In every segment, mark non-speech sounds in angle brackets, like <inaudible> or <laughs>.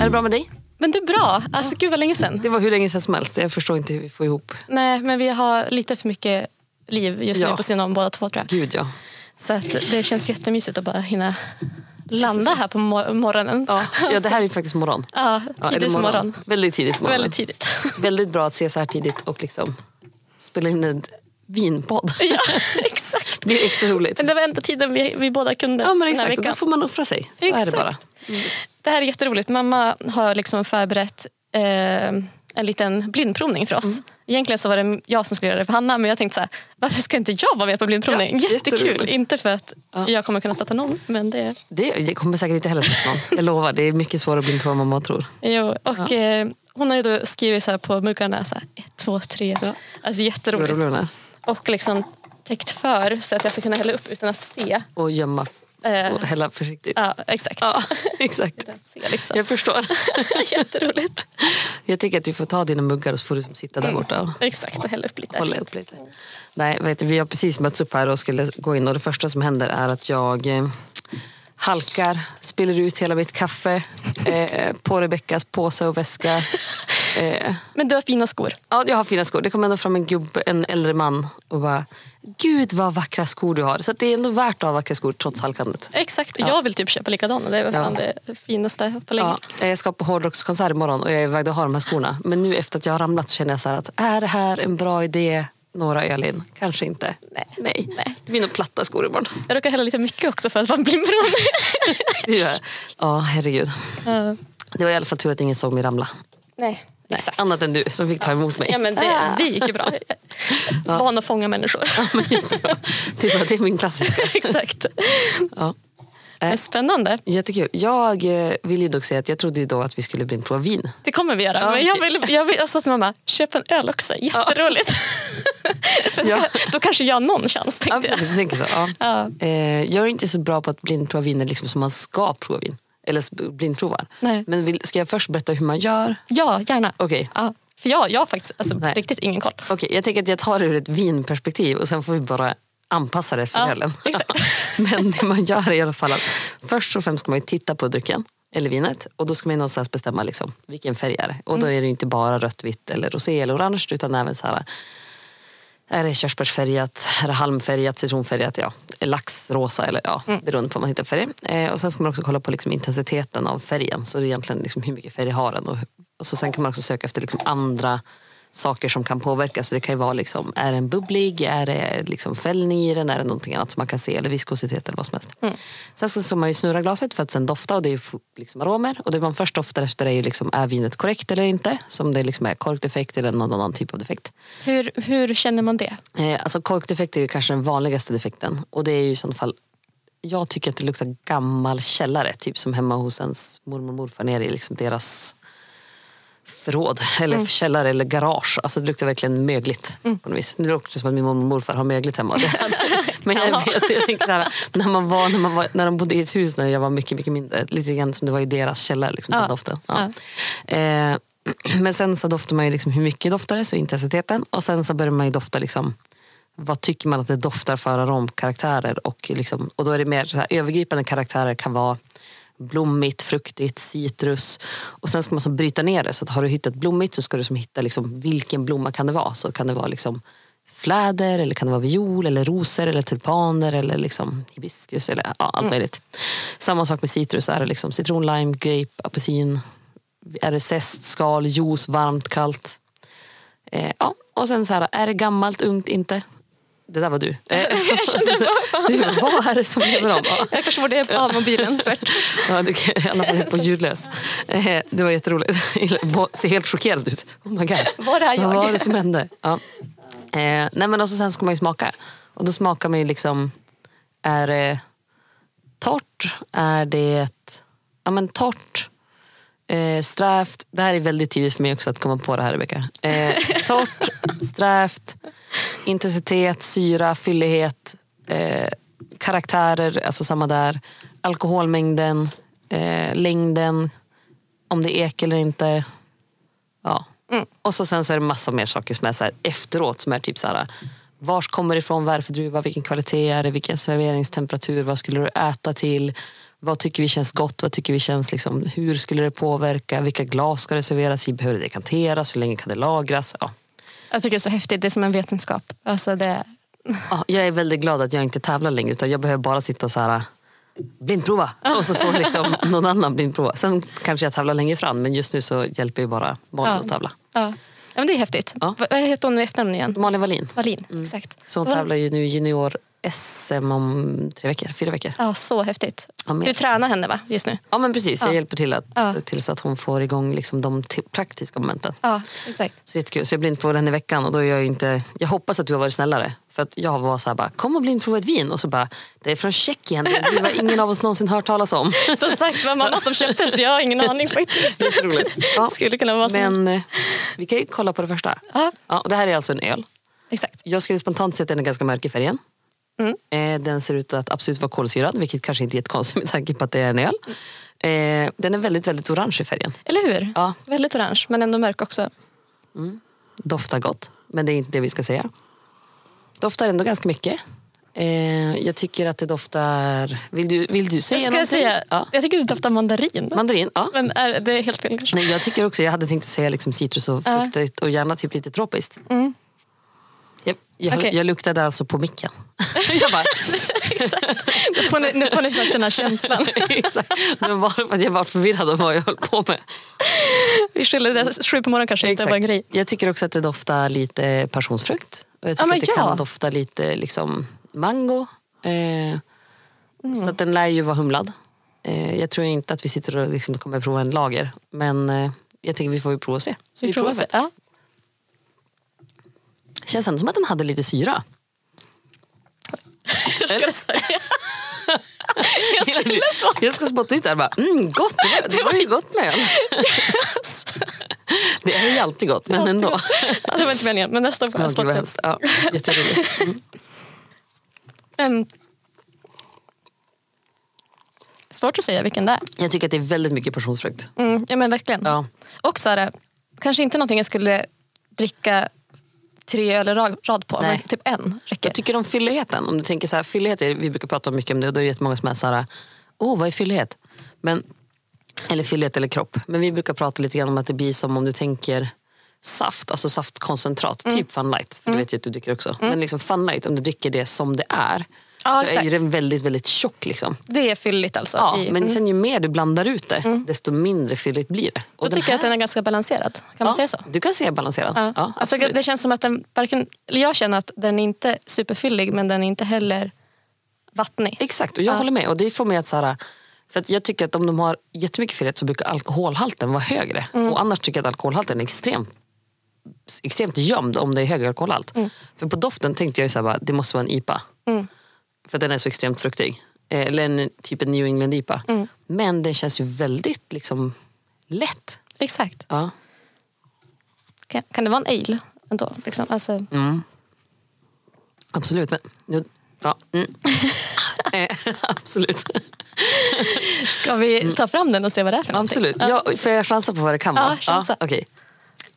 Är det bra med dig? Men det är bra. Alltså, gud vad länge sedan. Det var hur länge sedan som helst. Jag förstår inte hur vi får ihop. Nej, men vi har lite för mycket liv just Ja. nu på sidan om båda två tror jag. Gud ja. Så att det känns jättemysigt att bara hinna landa här på mor- morgonen. Ja, <laughs> ja det här är faktiskt morgon. Ja, Ja, eller tidigt på morgonen. Väldigt tidigt på morgonen. <laughs> Väldigt tidigt. Väldigt bra att se så här tidigt och liksom spela in en vinpodd. ja, <laughs> exakt. Det blir extra roligt. Men det var enda tiden vi, vi båda kunde Ja men den här exakt, och då veckan. får man offra sig. Så är det Exakt. bara. Det här är jätteroligt. Mamma har liksom förberett eh, en liten blindprovning för Mm. oss. Egentligen så var det jag som skulle göra det för Hanna men jag tänkte så här, varför ska inte jag vara med på blindprovning? Ja, Jättekul! jätteroligt. Inte för att jag kommer kunna stötta någon men det Det det kommer säkert inte heller sätta någon. Jag lovar, det är mycket svårare att bli på vad man tror. Jo, och eh, hon har ju då skrivit så här på muggarna, så här, ett, två, tre. Alltså Vad jätteroligt. rolig hon är. Och liksom täckt för så att jag ska kunna hälla upp utan att se. Och gömma Eh. och hälla försiktigt. Ja, exakt. <laughs> Exakt. <laughs> Utan att se liksom. Jag förstår. <laughs> Jätteroligt. Jag tänker att du får ta dina muggar och så får du som sitta där Mm. borta och Exakt, och hälla upp lite. hålla upp lite. Nej, vet du, vi har precis mötts upp här och skulle gå in och det första som händer är att jag eh, halkar, spiller ut hela mitt kaffe <laughs> eh, på Rebeckas påse och väska. Eh, Men du har fina skor. Ja, jag har fina skor. Det kom ändå fram en, gubbe, en äldre man och bara Gud vad vackra skor du har. Så att det är ändå värt att ha vackra skor trots halkandet. Exakt, och jag vill typ köpa likadana. Det är väl Ja. fan det finaste på länge. Ja, eh, jag ska på hårdrockskonsert imorgon och jag är iväg att ha de här skorna. Men nu efter att jag har ramlat så känner jag så här att är det här en bra idé? Några öl in? Kanske inte. Nej. Nej. Det blir nog platta skor imorgon. Jag råkar hälla lite mycket också för att vara <laughs> en blindprovning. Det gör jag. Ja, herregud. Ja. Det var i alla fall tur att ingen såg mig ramla. Nej. Nej, Ah. annat än du som fick ta emot mig. Ja men det, <laughs> det gick ju bra. Van att fånga människor. Typ att det är min klassiska. <laughs> Exakt. Ja. Men spännande. Jättekul. Jag eh, vill ju dock säga att jag trodde ju då att vi skulle blindprova vin. Det kommer vi göra. Men jag, vill, jag, vill, alltså jag sa till mamma, köp en öl också. <laughs> Jätteroligt. För Ja. Då kanske jag har någon chans. Tänkte jag. Absolut, du tänker så. Ja. Ja. Eh, jag är inte så bra på att blindprova viner liksom som man ska prova vin. Eller s- blindprovar. Nej. Men vill, ska jag först berätta hur man gör? Ja, gärna. Okej. Ja. För jag, jag har faktiskt alltså, Nej. riktigt ingen koll. Okej, jag tänker att jag tar det ur ett vinperspektiv och sen får vi bara anpassa det efter <laughs> Ja, ölen. exakt. Men det man gör är i alla fall att först och främst ska man ju titta på drycken eller vinet och då ska man ju någonstans bestämma liksom, vilken färg är det. Och Mm. då är det ju inte bara rött, vitt eller rosé eller orange utan även så här är det körsbärsfärgat, är det halmfärgat, citronfärgat, ja. laxrosa eller ja, beroende på vad man hittar för det. Eh, och sen ska man också kolla på liksom intensiteten av färgen, så det är egentligen liksom hur mycket färg har den. Och, och så sen kan man också söka efter liksom andra saker som kan påverka. Så det kan ju vara, liksom, är den bubblig, är det liksom fällning i den, är det någonting annat som man kan se, eller viskositet eller vad som helst. Sen så ska man ju snurra glaset för att sen dofta och det är ju f- liksom aromer. Och det man först doftar efter är ju liksom, är vinet korrekt eller inte? Som det liksom är korkdefekt eller någon annan typ av defekt. Hur, hur känner man det? Eh, alltså korkdefekt är ju kanske den vanligaste defekten. Och det är ju i sådana fall, jag tycker att det luktar gammal källare. Typ som hemma hos ens mormor och morfar nere i liksom deras förråd. <laughs> Eller källare eller garage. Alltså det luktar verkligen mögligt. På något vis. Nu luktar det som att min mormor och morfar har mögligt hemma. <laughs> Men jag, vet, jag tänker så här, när, man var, när, man var, när de bodde i ett hus när jag var mycket, mycket mindre. Lite grann som det var i deras källare, liksom, Ja. den doften. Ja. Eh, <clears throat> men sen så doftar man ju liksom hur mycket doftar det, så intensiteten. Och sen så börjar man ju dofta liksom, vad tycker man att det doftar för aromkaraktärer. Och, liksom, och då är det mer så här, övergripande karaktärer kan vara blommigt, fruktigt, citrus. Och sen ska man så bryta ner det. Så att har du hittat blommigt så ska du som hitta liksom, vilken blomma kan det vara. Så kan det vara liksom fläder, eller kan det vara viol, eller rosor, eller tulpaner, eller liksom hibiskus, eller ja, allt möjligt. Samma sak med citrus, är det liksom citron, lime, grape, apelsin, är det zest, skal, juice, varmt, kallt? Eh, ja. Och sen så här, är det gammalt, ungt, inte? Det där var <laughs> du. Eh, <laughs> Du bara, vad är det som lever <laughs> om? Ja. Jag kanske borde av mobilen. tvärt. Ja, du kan i alla fall helt på ljudlös. Eh, Det var jätteroligt. <laughs> Bo- Ser helt chockerad ut. Oh my god. <laughs> Var det här jag? Vad var det som hände? Ja. Eh, nej, men också sen ska man ju smaka. Och då smakar man ju liksom... Är det torrt? Är det... Ja, men torrt. Eh, strävt. Det här är väldigt tidigt för mig också att komma på det här, Rebecka. <laughs> Eh, torrt, strävt, intensitet, syra, fyllighet, eh, karaktärer, alltså samma där. Alkoholmängden, eh, längden, om det är ek eller inte. Mm. Ja. Och så sen så är det massa mer saker som är så här efteråt som är typ så här Vars kommer det ifrån, vad är det för druva, vilken kvalitet är det, vilken serveringstemperatur, vad skulle du äta till? Vad tycker vi känns gott? Vad tycker vi känns liksom, hur skulle det påverka? Vilka glas ska det serveras i? Behöver det dekanteras? Hur länge kan det lagras? Ja. Jag tycker det är så häftigt, det är som en vetenskap. Alltså det, Ja, jag är väldigt glad att jag inte tävlar längre utan jag behöver bara sitta och så här blindprova och så får liksom någon annan blindprova. Sen kanske jag tävlar längre fram men just nu så hjälper ju bara barnen Ja. att tävla. ja. ja men det är häftigt. Ja. Vad vad heter hon i efternamn igen? Malin Wallin, Wallin, exakt. så hon Vad- tävlar ju nu i junior-SM om tre veckor, fyra veckor. Ja, så häftigt. Ja, mer. Du tränar henne va, just nu? Ja men precis, jag hjälper till att, Ja. tills att hon får igång liksom de t- praktiska momenten. Ja, exakt. <laughs> Så jättekul. Så jag blindprovade henne i veckan och då är jag ju inte... Jag hoppas att du har varit snällare. För att jag var så här bara, kom och blindprova ett vin. Och så bara, det är från Tjeckien. Det var ingen av oss någonsin hört talas om. Som sagt, var mamma som köpte så jag har ingen aning faktiskt. <laughs> Jätteroligt. Ja. Skulle kunna vara som helst. Men eh, vi kan ju kolla på det första. Ja, Ja, och det här är alltså en öl. exakt. Jag skulle spontant säga att den är ganska mörk i färgen. Mm. Eh, den ser ut att absolut vara kolsyrad, vilket kanske inte är jättekonstigt med tanke på att det är en öl. Eh, den är väldigt, väldigt orange i färgen. Eller hur? Ja. Väldigt orange, men ändå mörk också. Doftar gott, men det är inte det vi ska säga. Doftar ändå ganska mycket. Eh, jag tycker att det doftar... Vill du, vill du säga Jag ska någonting? jag säga, Ja. jag tycker det doftar mandarin. Mandarin, ja. Men är det är helt fel kanske. Nej, jag tycker också, jag hade tänkt att säga liksom citrus och Ja. fruktigt och gärna typ lite tropiskt. Mm. Jag, jag, Okej. jag luktade alltså på <laughs> micken. jag bara, Nu får ni, nu får ni snart känna känslan. <laughs> exakt. Men bara för att jag var förvirrad om vad jag höll på med. Vi skyller det sju på morgonen kanske inte var en grej. Jag tycker också att det doftar lite passionsfrukt. Och jag Ja, tycker men att det ja. kan dofta lite liksom, mango. Eh, Mm. Så att den lär ju vara humlad. Eh, jag tror inte att vi sitter och liksom kommer prova en lager. Men eh, jag tänker vi får ju prova och se. Så vi, provar. så- <laughs> Ja. Känns ändå som att den hade lite syra. Jag <laughs> skulle säga. Jag skulle svara. Jag ska spotta ut det här bara, mm, gott, det var, det <laughs> var ju gott med öl. <laughs> Det är ju alltid gott, men Alltid ändå. gott. Ja, Det var inte meningen, men nästan får Ja, jag gud vad spotta. hemskt. Ja, <laughs> jätteroligt. Ehm. Svårt att säga vilken det är. Jag tycker att det är väldigt mycket passionsfrukt. Mm, ja men verkligen. Ja. Och så är det, kanske inte någonting jag skulle dricka tre öl i rad rad på, Nej. men typ en räcker. Jag tycker om fylligheten. Om du tänker så här, fyllighet är, vi brukar prata mycket om det och då är det jättemånga som är så här, åh vad är fyllighet? Men, eller fyllighet eller kropp. Men vi brukar prata lite grann om att det blir som om du tänker saft, alltså saftkoncentrat, Mm. typ Fun Light. För det vet jag att du dricker också. Men liksom Fun Light, om du dricker det som det är, Ja, så är ju exakt. den väldigt, väldigt tjock. Liksom. Det är fylligt alltså. Ja, i- Mm. men sen ju mer du blandar ut det, desto mindre fylligt blir det. Då tycker jag att den är ganska balanserad. Kan man säga så? Du kan säga balanserad. Ja. alltså, absolut. det känns som att den varken, eller jag känner att den är inte superfyllig men den är inte heller vattnig. Exakt, och jag håller med. Och det får mig att så här, för att jag tycker att om de har jättemycket fyllighet så brukar alkoholhalten vara högre. Och annars tycker jag att alkoholhalten är extremt extremt gömd om det är hög alkoholhalt. För på doften tänkte jag ju så här bara, det måste vara en IPA. För att den är så extremt fruktig. Eh, Eller en typ en New England IPA. Men den känns ju väldigt liksom lätt. Exakt. Ja. Kan, kan det vara en ale ändå? Liksom? Alltså, Mm. Absolut. Men, nu, ja, mm. eh, <laughs> absolut. Ska vi ta fram den och se vad det är för någonting? Mm. Absolut. Jag, får jag chansa på vad det kan vara? Ja, chansa. okej.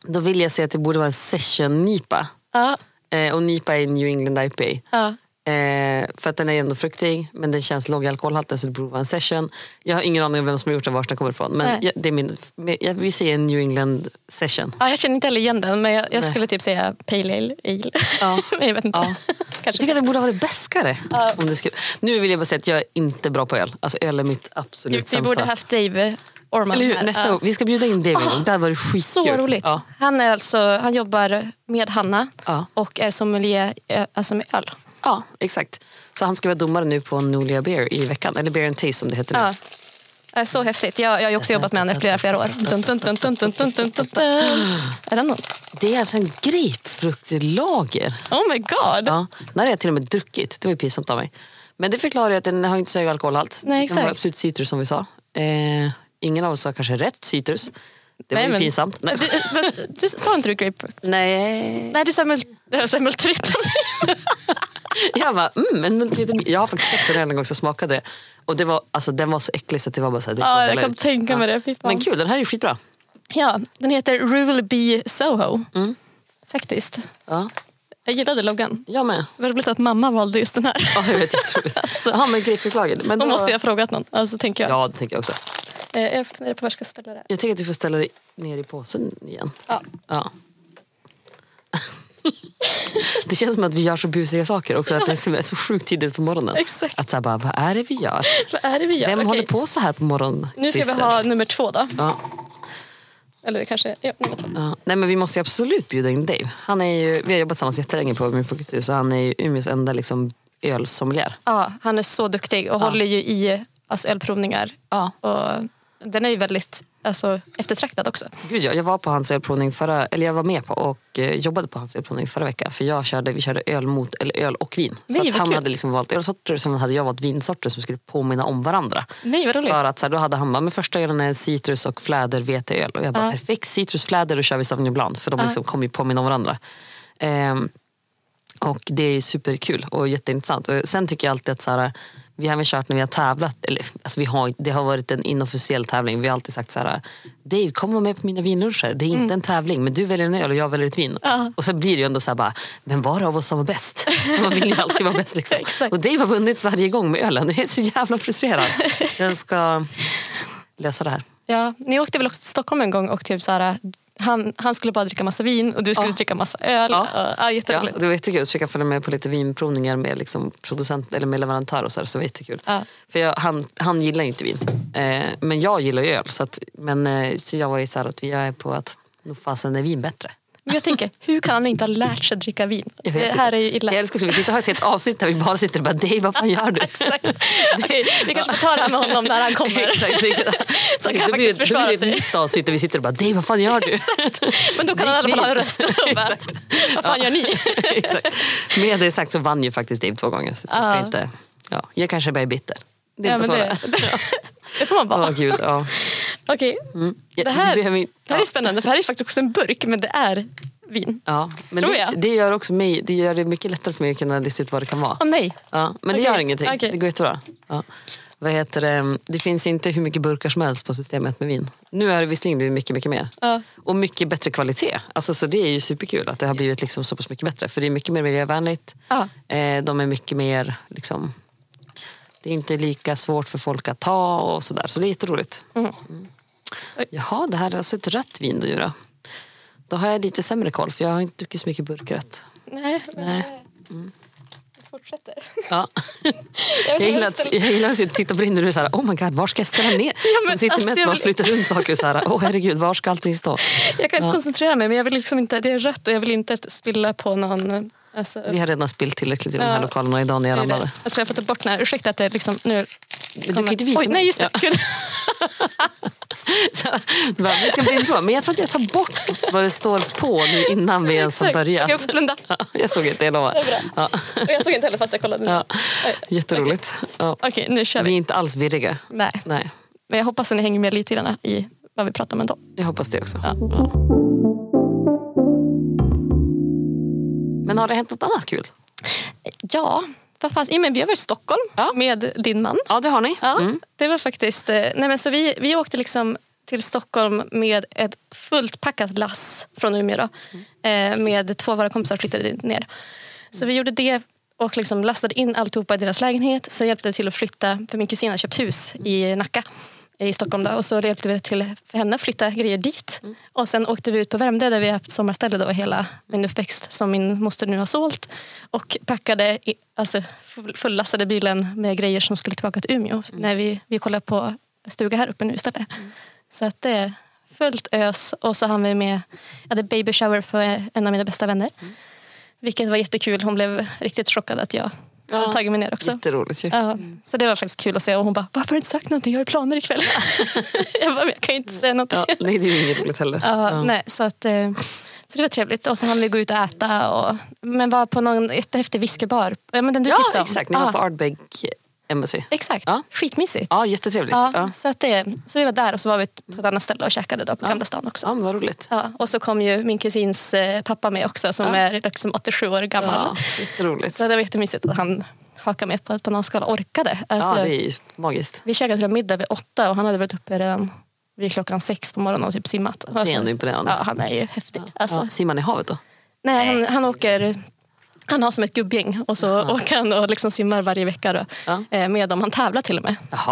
Då vill jag säga att det borde vara en session-nipa. Ja, Eh, och nipa är New England IPA. ja. Eh, för att den är ändå fruktig, men den känns låg i alkoholhalten så det borde vara en session. Jag har ingen aning om vem som har gjort den och vart den kommer ifrån. Men Nej. jag, det är min, jag, vi säger en New England session. Ja, jag känner inte heller igen den men jag, jag Nej. skulle typ säga pale ale. ale. Ja. <laughs> men jag vet inte. Ja. Jag Kanske. tycker att det borde vara det bäskare. Om det skulle. Nu vill jag bara säga att jag är inte bra på öl. Alltså öl är mitt Vi, absolut vi sämsta. borde haft Dave Orman Eller hur? här. Nästa Ja. Ah, gång. Vi ska bjuda in David. Oh, det här var skitkul. Så roligt. Ja. Han, är alltså, han jobbar med Hanna Ja. och är sommelier eh, alltså med öl. Ja, exakt. Så han ska vara domare nu på Nolia Beer i veckan. Eller Beer and Taste som det heter nu. Ja. Eh, Så häftigt. Jag, jag har ju också jobbat med henne i flera, flera år. Dun, dun, dun, dun, dun, dun, dun, dun, dun. Är det någon? Det är alltså en grapefruktlager. Oh my god! Ja, den har jag till och med druckit. Det var ju pinsamt av mig. Men det förklarar ju att den har inte så hög alkoholhalt. Nej, Den exakt. har absolut citrus som vi sa. Eh, ingen av oss har kanske rätt citrus. Det var Nej, ju men- pinsamt. Nej, Du, fast- du, sa inte du grapefrukt? Nej. Nej, du sa mul- jag <laughs> sa multivitamin. jag bara, mm, en multivitamin. Jag har faktiskt sett den en gång så smakade det. Och det var, alltså, den var så äcklig så att det var bara så här, det går Ja, jag hela kan ut. tänka mig det. Fy fan. Men kul, den här är ju skitbra. Mm. Ja, den heter Rule B Soho. Faktiskt. Ja. Jag gillade loggan. Jag med. Vad roligt att mamma valde just den här. Ja, jag vet, jätteroligt. <laughs> Alltså, Jaha, men grejpförslaget. Men då det måste var- jag ha frågat någon. Alltså, tänker jag. Ja, det tänker jag också. Eh, jag funderar på var jag ska ställa det här. Jag tänker att du får ställa dig ner i påsen igen. Ja. Ja. <laughs> Det känns som att vi gör så busiga saker också. Att det är så sjukt tidigt på morgonen. Exakt. Att så här bara, vad är det vi gör? Vad är det vi gör? Vem Okej. håller på så här på morgonen? Nu ska vi Christer? ha nummer två då. Ja, Eller kanske... Ja, nummer två. ja. Nej, men vi måste ju absolut bjuda in Dave. Han är ju, vi har jobbat tillsammans jättelänge på min Folkets hus och han är ju Umeås enda liksom, ölsommelier. Ja, han är så duktig och håller ju i alltså, ölprovningar. Ja. Och den är ju väldigt alltså, eftertraktad också. Gud ja, jag var på hans ölprovning förra, eller jag var med på och eh, jobbade på hans ölprovning förra veckan. För jag körde, vi körde öl mot, eller öl och vin. Nej, så vad att han kul. hade liksom valt ölsorter som hade jag valt vinsorter som skulle påminna om varandra. Nej, vad roligt. För att så här, då hade han bara, men första ölen är citrus och fläder veteöl. Och jag bara, Ja. perfekt, citrus, fläder och kör vi Sauvignon Blanc. För de liksom kommer ju påminna om varandra. Ehm, och det är superkul och jätteintressant. Och sen tycker jag alltid att så här, vi har väl kört när vi har tävlat, eller alltså vi har, det har varit en inofficiell tävling. Vi har alltid sagt så här, Dave kom och var med på mina vinluncher. Det är inte en tävling men du väljer en öl och jag väljer ett vin. Mm. Ja. Och så blir det ju ändå så här bara, vem var det av oss som var <laughs> bäst? Man vill ju alltid vara bäst liksom. Exakt. Och Dave har vunnit varje gång med ölen. Jag är så jävla frustrerad. Jag ska lösa det här. Ja, ni åkte väl också till Stockholm en gång och typ så här, han, han skulle bara dricka massa vin och du skulle Ja. dricka massa öl. Ja. Ja. Ja, Ja, jätteroligt. och det var jättekul. Så fick jag följa med på lite vinprovningar med, liksom producent, eller med leverantör och så, här, så det var jättekul. Ja. För jag, han, han gillar ju inte vin. Eh, men jag gillar ju öl. Så, att, men, eh, så jag var ju så här att jag är på att nog fasen är vin bättre. Men jag tänker, hur kan han inte ha lärt sig dricka vin? Jag vet Det inte. här är ju illa. Jag älskar också, vi kan inte ha ett helt avsnitt där vi bara sitter och bara Dave, vad fan gör du? Exakt. <laughs> Okej, vi kanske får ta det här med honom när han kommer. Exakt, exakt. Så han Då kan blir det- faktiskt försvara Då blir det sig. ett nytt avsnitt där vi sitter och bara Dave, vad fan gör du? Men då kan han i alla fall ha en <laughs> röst. och bara, Exakt. Vad fan gör ni? <laughs> Exakt. Med det sagt så vann ju faktiskt Dave två gånger. Så att jag, ska Ja. inte, ja, jag kanske bara är bitter. Det är Ja, bara men så det det, är. <laughs> det får man Åh, vara. gud, ja. Mm. Okej, Ja, det här, du behöver inte- det här är spännande för här är faktiskt också en burk men det är vin. Ja, men Tror det, jag. det gör också mig, det gör det mycket lättare för mig att kunna lista ut vad det kan vara. Åh nej, Ja, men det Okej, gör ingenting, okej. det går jättebra. Ja. Vad heter det? det finns inte hur mycket burkar som helst på systemet med vin. Nu har det visserligen blivit mycket, mycket mer. Ja. Och mycket bättre kvalitet. Alltså, så det är ju superkul att det har blivit liksom så pass mycket bättre. För det är mycket mer miljövänligt. Ja. Eh, de är mycket mer, liksom, det är inte lika svårt för folk att ta och sådär. Så det är jätteroligt. Mm. Oj. Jaha, det här är alltså ett rött vin du gör. Då har jag lite sämre koll för jag har inte druckit så mycket burkrött. nej. men- Nej. Mm. Jag fortsätter. <laughs> Ja. Jag, Jag vet inte hur gillar, jag ställer- att, jag gillar att titta på Rinder och så här, oh my god, var ska jag ställa ner? men Hon sitter alltså, mest jag bara och vill- flyttar runt saker och så här, oh herregud, var ska allting stå? Jag kan inte koncentrera mig men jag vill liksom inte, det är rött och jag vill inte att spilla på någon. Alltså, Vi har redan spillt tillräckligt i de här Ja. lokalerna idag när jag det är det. ramlade. Jag tror jag får ta bort den här. Ursäkta att det är liksom nu. du kan ju inte visa Oj, mig. nej just det. Gud. <laughs> Så, bara, vi ska bli en prova. Men jag tror att jag tar bort vad det står på nu innan vi ens har <laughs> Exakt. börjat. Jag kan också blunda. Ja, jag såg inte, jag lovar. Det är bra. Ja. Och jag såg inte heller fast jag kollade. nu. Ja. Oj. Jätteroligt. Ja. Okej, nu kör Vi är vi. inte alls virriga. Nej. Nej, Men jag hoppas att ni hänger med lite grann i vad vi pratar om ändå. jag hoppas det också. Ja. Men har det hänt något annat kul? Ja, vad fanns? Ja, men vi har varit i Stockholm Ja. med din man. Ja, det har ni. Ja, Mm. det var faktiskt... eh, Nej, men så vi, vi åkte liksom till Stockholm med ett fullt packat lass från Umeå. Då, eh, med två av våra kompisar flyttade dit ner. Så vi gjorde det och liksom lastade in alltihopa i deras lägenhet. Sen hjälpte vi till att flytta, för min kusin har köpt hus i Nacka i Stockholm. Då, och så hjälpte vi till för henne att flytta grejer dit. Och sen åkte vi ut på Värmdö där vi har haft sommarställe då, hela min uppväxt som min moster nu har sålt. Och packade, i, alltså full- fullastade bilen med grejer som skulle tillbaka till Umeå. När vi, vi kollade på stuga här uppe nu istället. Så att det är fullt ös. Och så hann vi med, jag hade baby shower för en av mina bästa vänner. Vilket var jättekul. Hon blev riktigt chockad att jag hade tagit mig ner också. Jätteroligt ju. Ja, så det var faktiskt kul att se. Och hon bara, varför har du inte sagt någonting? Jag har planer ikväll. jag bara, "Men jag kan ju inte säga någonting. Ja, nej, det är ju inget roligt heller. Ja, Nej, så, att, eh, så det var trevligt. Och sen hann vi gå ut och äta. Och, men var på någon jättehäftig whiskybar. Ja, men den du Ja, tipsade om. exakt. Ni var Ja, på Ardbeg Embassy. Exakt, Ja. skitmysigt. Ja, jättetrevligt. Ja, Ja. Ja. Så, att det, så vi var där och så var vi på ett annat ställe och käkade då på Gamla stan också. men vad roligt. Ja, och så kom ju min kusins eh, pappa med också som är liksom 87 år gammal. Ja, jätteroligt. Så det var jättemysigt att han hakade med på ett bananskal och orkade. Alltså, Ja, det är ju magiskt. Vi käkade till en middag vid åtta och han hade varit uppe redan vid klockan sex på morgonen och typ simmat. Det är ändå imponerande. Ja, han är ju häftig. Alltså, Ja, simmar ni i havet då? Nej, han, han åker Han har som ett gubbgäng och så åker han och liksom simmar varje vecka då, Ja. eh, med dem. Han tävlar till och med. Jaha.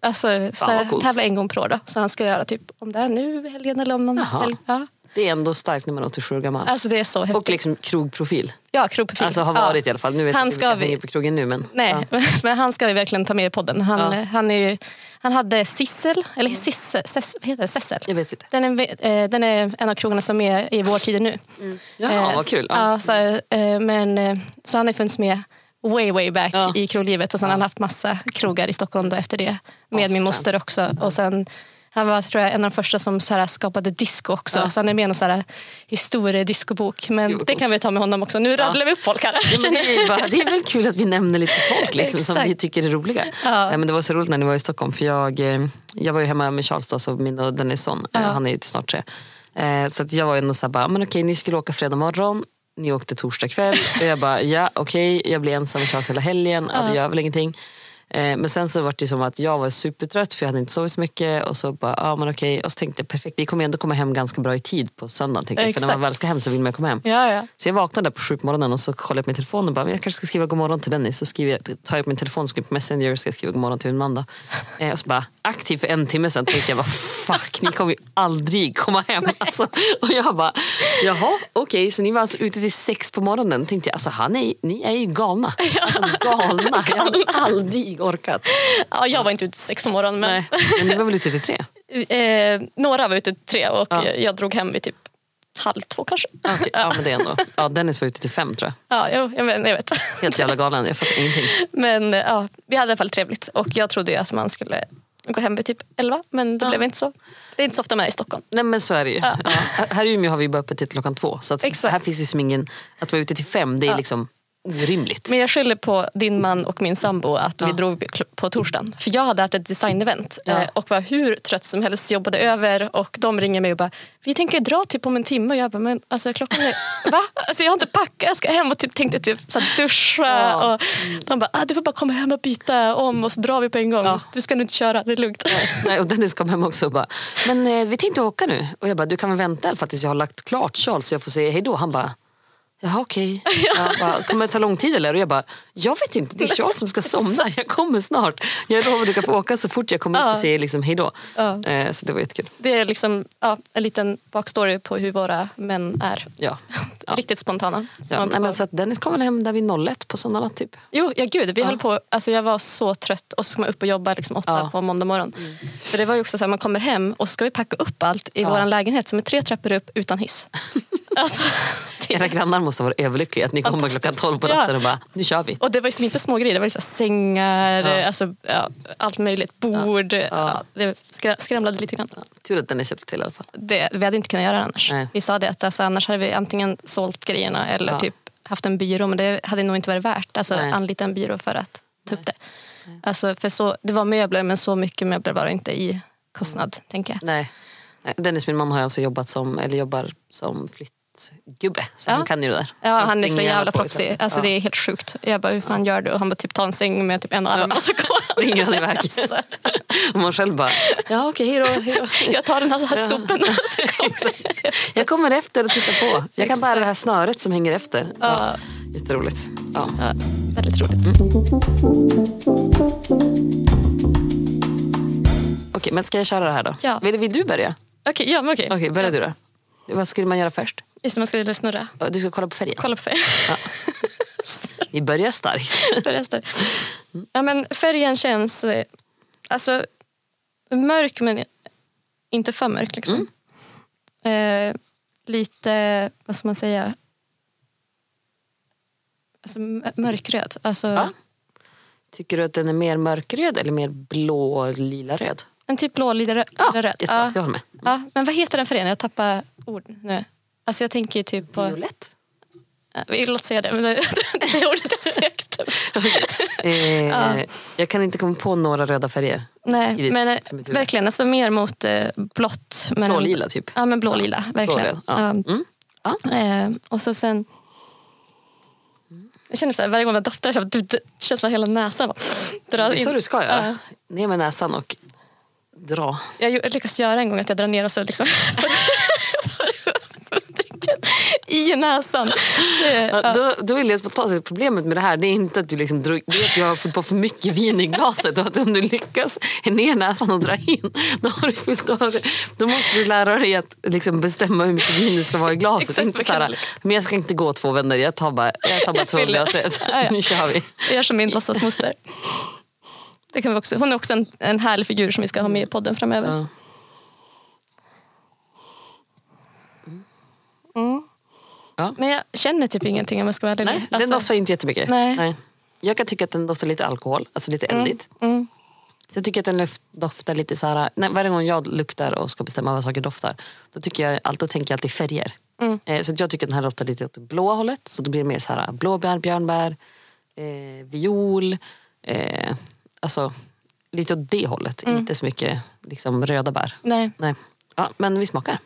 Ja, alltså, så vad här, coolt. tävlar en gång per år. Då. Så han ska göra typ om det är nu i helgen eller om någon Jaha. helg. Ja. Det är ändå starkt när man är 87 år gammal. Alltså det är så häftigt. Och liksom krogprofil. ja, krogprofil. Alltså har Ja. varit i alla fall. Nu vet Han jag inte ska vilka vi- hänger på krogen nu men. Nej, Ja. <laughs> men han ska vi verkligen ta med i podden. Han, eh, Ja. han, är ju, han hade Sissel, eller Sisse, Sess, vad heter det? Sessel? Jag vet inte. Den är, eh, den är en av krogarna som är i vår tid nu. Mm. Jaha, Eh, vad kul. Ja. Ja, så, eh, men, eh, så han har funnits med way, way back Ja. i kroglivet och sen har han haft massa krogar i Stockholm då efter det. Med min Asfränt. moster också. Och sen, han var tror jag, en av de första som så här, skapade disco också. Ja. Så han är med i någon så här historiediskobok. Men Gud, vad det coolt. kan vi ta med honom också. Nu rabblar vi upp folk här. Ja, men det, är ju bara, det är väl kul att vi nämner lite <laughs> folk liksom, som Exakt. vi tycker är roliga. Ja. Nej, men det var så roligt när ni var i Stockholm. För jag, eh, jag var ju hemma med Charles då, så min och Dennis son. eh, Han är ju snart tre. Eh, Så att jag var ju ändå så här, bara, men okej, ni skulle åka fredag morgon. Ni åkte torsdag <laughs> kväll. Och jag bara, ja okej, jag blir ensam med Charles hela helgen. Ja. Det gör väl ingenting. Eh, Men sen så var det ju som att jag var supertrött för jag hade inte sovit så mycket. Och så bara, ja men okej. Och så tänkte jag, perfekt, vi kommer ju ändå komma hem ganska bra i tid på söndagen. Tänkte jag. För när man Exakt. väl ska hem så vill man ju komma hem. <laughs> ja, ja. Så jag vaknade på sju på morgonen och så kollade jag på min telefon och bara, men jag kanske ska skriva god morgon till Dennis. Så skriver jag, tar jag upp min telefon, skriver på Messenger och ska skriva god morgon till min man. då. Eh, och så bara, aktiv för en timme sen tänkte jag, vad fuck, ni kommer ju aldrig komma hem. Alltså. Och jag bara, jaha, okej, så ni var alltså ute till sex på morgonen. Tänkte jag, alltså han är, ni är ju galna. Alltså galna, jag hade aldrig orkat. ja, jag var inte ute sex på morgonen men Nej, men ni var väl ute till tre? <laughs> Eh, några var ute tre och Ja. eh, jag drog hem vid typ halv två kanske. Ah, okej. Ja, men det är ändå. Ja, Dennis var ute till fem tror jag. Ja, jo, jag, men, jag vet. Helt jävla galen, jag fattar ingenting. <laughs> Men eh, ja, vi hade i alla fall trevligt och jag trodde ju att man skulle gå hem vid typ elva men det blev inte så. Det är inte så ofta man är i Stockholm. Nej men så är det ju. Ja. Här i Umeå har vi bara öppet till klockan två. Så att Exakt. här finns ju som ingen, att vara ute till fem det är liksom orimligt. Men jag skyller på din man och min sambo att vi Ja. drog på torsdagen. För jag hade haft ett designevent Ja. eh, och var hur trött som helst, jobbade över och de ringer mig och bara vi tänker dra typ om en timme och jag bara men alltså <laughs> klockan är, va? Alltså jag har inte packat, jag ska hem och typ, tänkte typ så här, duscha Ja. och de bara ah, du får bara komma hem och byta om och så drar vi på en gång. Ja. Du ska nu inte köra, det är lugnt. Nej, och Dennis kom hem också och bara, men eh, vi tänkte åka nu. Och jag bara, du kan väl vänta i alla fall tills jag har lagt klart Charles så jag får säga hej då. Han bara, jaha okej. Jag bara, Kommer det ta lång tid eller? Och jag bara, jag vet inte, det är Charles som ska somna. Jag kommer snart. Jag lovar du kan få åka så fort jag kommer upp och säger liksom hej då. Ja. Eh, Så det var jättekul. Det är liksom ja, en liten bakstory på hur våra män är. Ja. Ja. Riktigt spontana. Så Ja, man nej, men får- så att Dennis kom väl hem där vid 01 på söndagarna typ. Jo, ja, gud, vi höll på, alltså jag var så trött och så ska man upp och jobba liksom åtta Ja. Mm. på måndag morgon. För det var ju också så här, man kommer hem och så ska vi packa upp allt i Ja. vår lägenhet som är tre trappor upp <laughs> utan hiss. alltså, det, Era grannar måste vara överlyckliga att ni kommer Fantastiskt. klockan 12 på natten Ja. och bara, nu kör vi. och det var ju som inte små grejer, det var ju så här, sängar, Ja. Alltså, ja, allt möjligt, bord. Ja. det skra- skramlade lite grann. Tur att den är köpt till i alla fall. Det, vi hade inte kunnat göra det annars. Nej. Vi sa det att alltså, annars hade vi antingen sålt grejerna eller Ja. typ haft en byrå men det hade nog inte varit värt. Alltså Nej. anlita en byrå för att ta upp det. Alltså, för så, det var möbler men så mycket möbler var det inte i kostnad Mm. tänker jag. Nej. Nej, Dennis, min man, har alltså jobbat som, eller jobbar som flyttgubbe. Så Ja. han kan ju det där. Ja, han är så springer jävla på, proffsig. liksom. Alltså, Ja. Det är helt sjukt. Jag bara, hur fan gör du? Och han bara, typ, ta en säng med typ en arm och <laughs> så går Springer han iväg. <laughs> Alltså, <laughs> Och man själv bara, ja okej, hejdå, hejdå. jag tar den här, här sopen och så kommer jag. <laughs> Jag kommer efter och tittar på. Jag kan Exakt. bära det här snöret som hänger efter. Ja. Jätteroligt. Ja. Ja, väldigt roligt. Okej, men ska jag köra det här då? Ja. Vill, vill du börja? Okej, ja, men okej. Okej, börja du då. Vad skulle man göra först? Just det, man skulle snurra. Du ska kolla på färgen. Kolla på färgen. Vi börjar starkt. <laughs> Förresten. Ja, men färgen känns eh, alltså, mörk men inte för mörk. Liksom. Mm. Eh, lite, vad ska man säga? Alltså, m- mörkröd. Alltså, Ja. Tycker du att den är mer mörkröd eller mer blå lila röd? En typ blå, lite rö- Ja, lite röd. jättebra. Jag håller med. Ja, men vad heter den färgen? Jag tappar ord nu. Alltså jag tänker ju typ på... <laughs> Violett? Ja, Vi låter säga det, men det <laughs> det är ordet <laughs> jag sökte. Eh, Jag kan inte komma på några röda färger. Nej, Tidigt men eh, för mitt huvud. verkligen alltså mer mot eh, blått. men ändå- Blålila typ. Ja, men blålila. Verkligen. Blålila, ja. Ja. Mm. Ja. Eh, och så sen... Jag känner så här, varje gång jag doftar så här, du, det känns som att hela näsan bara, drar Det är så in. du ska göra. Ja. Ner med näsan och dra. Jag gjo- lyckas göra en gång att jag drar ner och så liksom för, för, för, i <laughs> i näsan. Det, Ja, ja. Då, då vill jag ta till problemet med det här det är inte att du liksom drog, det är att jag har fått på för mycket vin i glaset och att om du lyckas ner näsan och dra in då har du fyllt av det. Då måste du lära dig att liksom bestämma hur mycket vin det ska vara i glaset. Exakt, inte vad så kan här, du- men jag ska inte gå två vänner, jag tar bara, jag tar bara Jag två fyller. glas. Ja, ja. Nu kör vi. Jag gör som min låtsasmoster. Det kan vi också. Hon är också en, en härlig figur som vi ska ha med i podden framöver. Ja. Men jag känner typ ingenting om jag ska vara ärlig. Nej, den Alltså, doftar inte jättemycket. Nej. Jag kan tycka att den doftar lite alkohol, alltså lite eldigt. mm. Så jag tycker att den luft- doftar lite så här, nej, varje gång jag luktar och ska bestämma vad saker doftar, då, tycker jag, all- då tänker jag alltid färger. Mm. Eh, så att jag tycker att den här doftar lite åt det blåa hållet, så då blir det mer så här blåbär, björnbär, eh, viol, eh, alltså lite åt det hållet, Mm. inte så mycket liksom, röda bär. Nej. Nej. Ja, men vi smakar.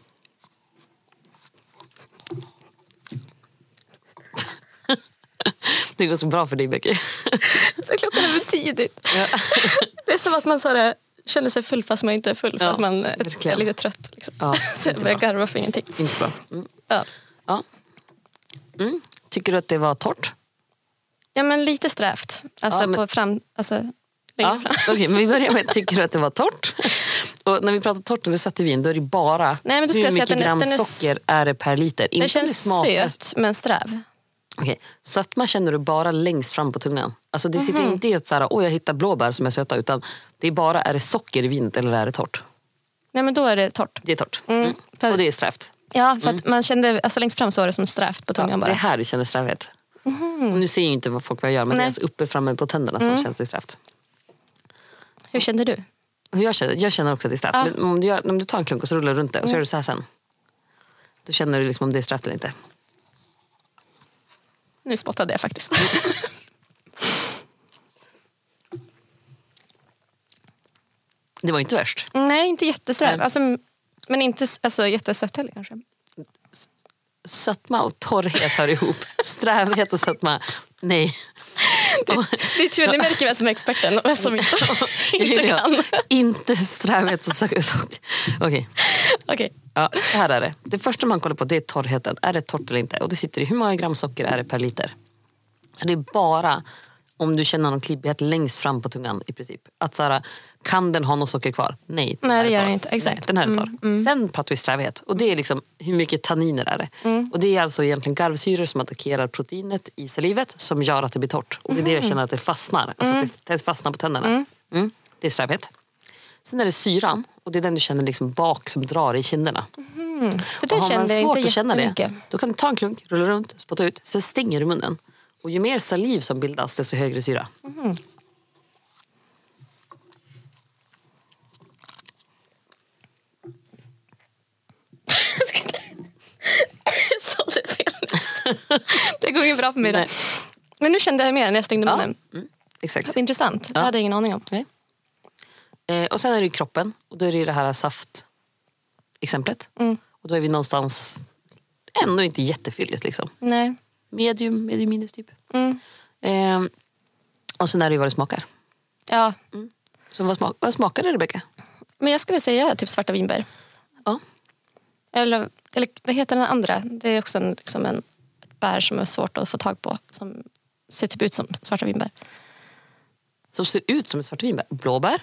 Det går så bra för dig Becky. <laughs> Så klockan är för tidigt. <laughs> Det är som att man så här, eh, känner sig full fast man inte är full. För Ja, att man eh, är, är verkligen. lite trött. Liksom. Ja, <laughs> så jag inte börjar bra. garva för ingenting. Inte bra. Mm. Ja. Ja. Mm. Tycker du att det var torrt? ja men lite strävt. Alltså Ja, men- på fram... Alltså, längre Ja. fram. Okej, men vi börjar med, tycker du att det var torrt? Och när vi pratar torrt eller sött i vin, då är det bara Nej, men då skulle hur jag mycket säga att den är- gram den är s- socker är det per liter. Inte om Den känns smakar- söt men sträv. Okej, Sötma känner du bara längst fram på tungan. Alltså det Mhm. sitter inte i att så här, Åh, jag hittar blåbär som är söta, utan det är bara, är det socker i vinet eller är det torrt? Nej men då är det torrt. Det är torrt. Mm. Mm. Per- Och det är strävt. Ja, för att man kände, alltså längst fram så var det som strävt på tungan Mm. Ja, det är bara. här du känner strävhet. Och Nu ser ju inte vad folk vad jag gör, men det är Nej. Mm. alltså uppe framme på tänderna som känns det strävt. Hur kände du? Hur Jag känner, jag känner också att det är strävt. Ja. Mm. Men Om, du gör, om du tar en klunk och så rullar du runt det och så gör du så här sen. Då känner du liksom om det är strävt eller inte. Nu spottade jag faktiskt. Mm. Det var ju inte värst. Nej, inte jättesträv. Nej. Alltså, men inte s- alltså, jättesött heller <laughs> kanske. Sötma och torrhet hör <laughs> ihop. Strävhet och sötma, nej. Det är tur, ni märker vem som är experten och <laughs> vem som inte, <laughs> inte kan. Inte strävhet och sötma. Okej, Okej. ja, så här är det. Det första man kollar på det är torrheten. Är det torrt eller inte? Och det sitter i hur många gram socker är det per liter? Så det är bara om du känner någon klibbighet längst fram på tungan i princip. Att så här, kan den ha något socker kvar? Nej. den Nej, här det är gör torr. den inte. Exakt. Mm, Nej, den här är torr. Sen pratar vi strävhet. Och det är liksom hur mycket tanniner är det? Mm. Och det är alltså egentligen garvsyror som attackerar proteinet i salivet som gör att det blir torrt. Och det är det jag Mm. känner att det fastnar. Alltså att det fastnar på tänderna. Mm. Det är strävhet. Sen är det syran och det är den du känner liksom bak som drar i kinderna. För Och det har man kände jag svårt inte att känna jättemycket. det, <laughs> då kan du ta en klunk, rulla runt, spotta ut, sen stänger du munnen. Och ju mer saliv som bildas, desto högre syra. Jag sålde fel. Det går ju bra för mig då. Nej. Men nu kände jag mer när jag stängde Ja. munnen. Mm. Exakt. Vad Intressant. Det hade jag ingen aning om. Nej. Eh, och sen är det ju kroppen. Och då är det ju det här saftexemplet. Mm. Och då är vi någonstans, ändå inte jättefylligt liksom. Nej. Medium, medium minus typ. Mm. Eh, och sen är det ju vad det smakar. Ja. Så vad, smak, vad smakar det Rebecka? Men jag skulle säga typ svarta vinbär. Ja. Eller, eller vad heter den andra? Det är också en, liksom en, ett bär som är svårt att få tag på. Som ser typ ut som svarta vinbär. Som ser ut som ett svart vinbär. Blåbär.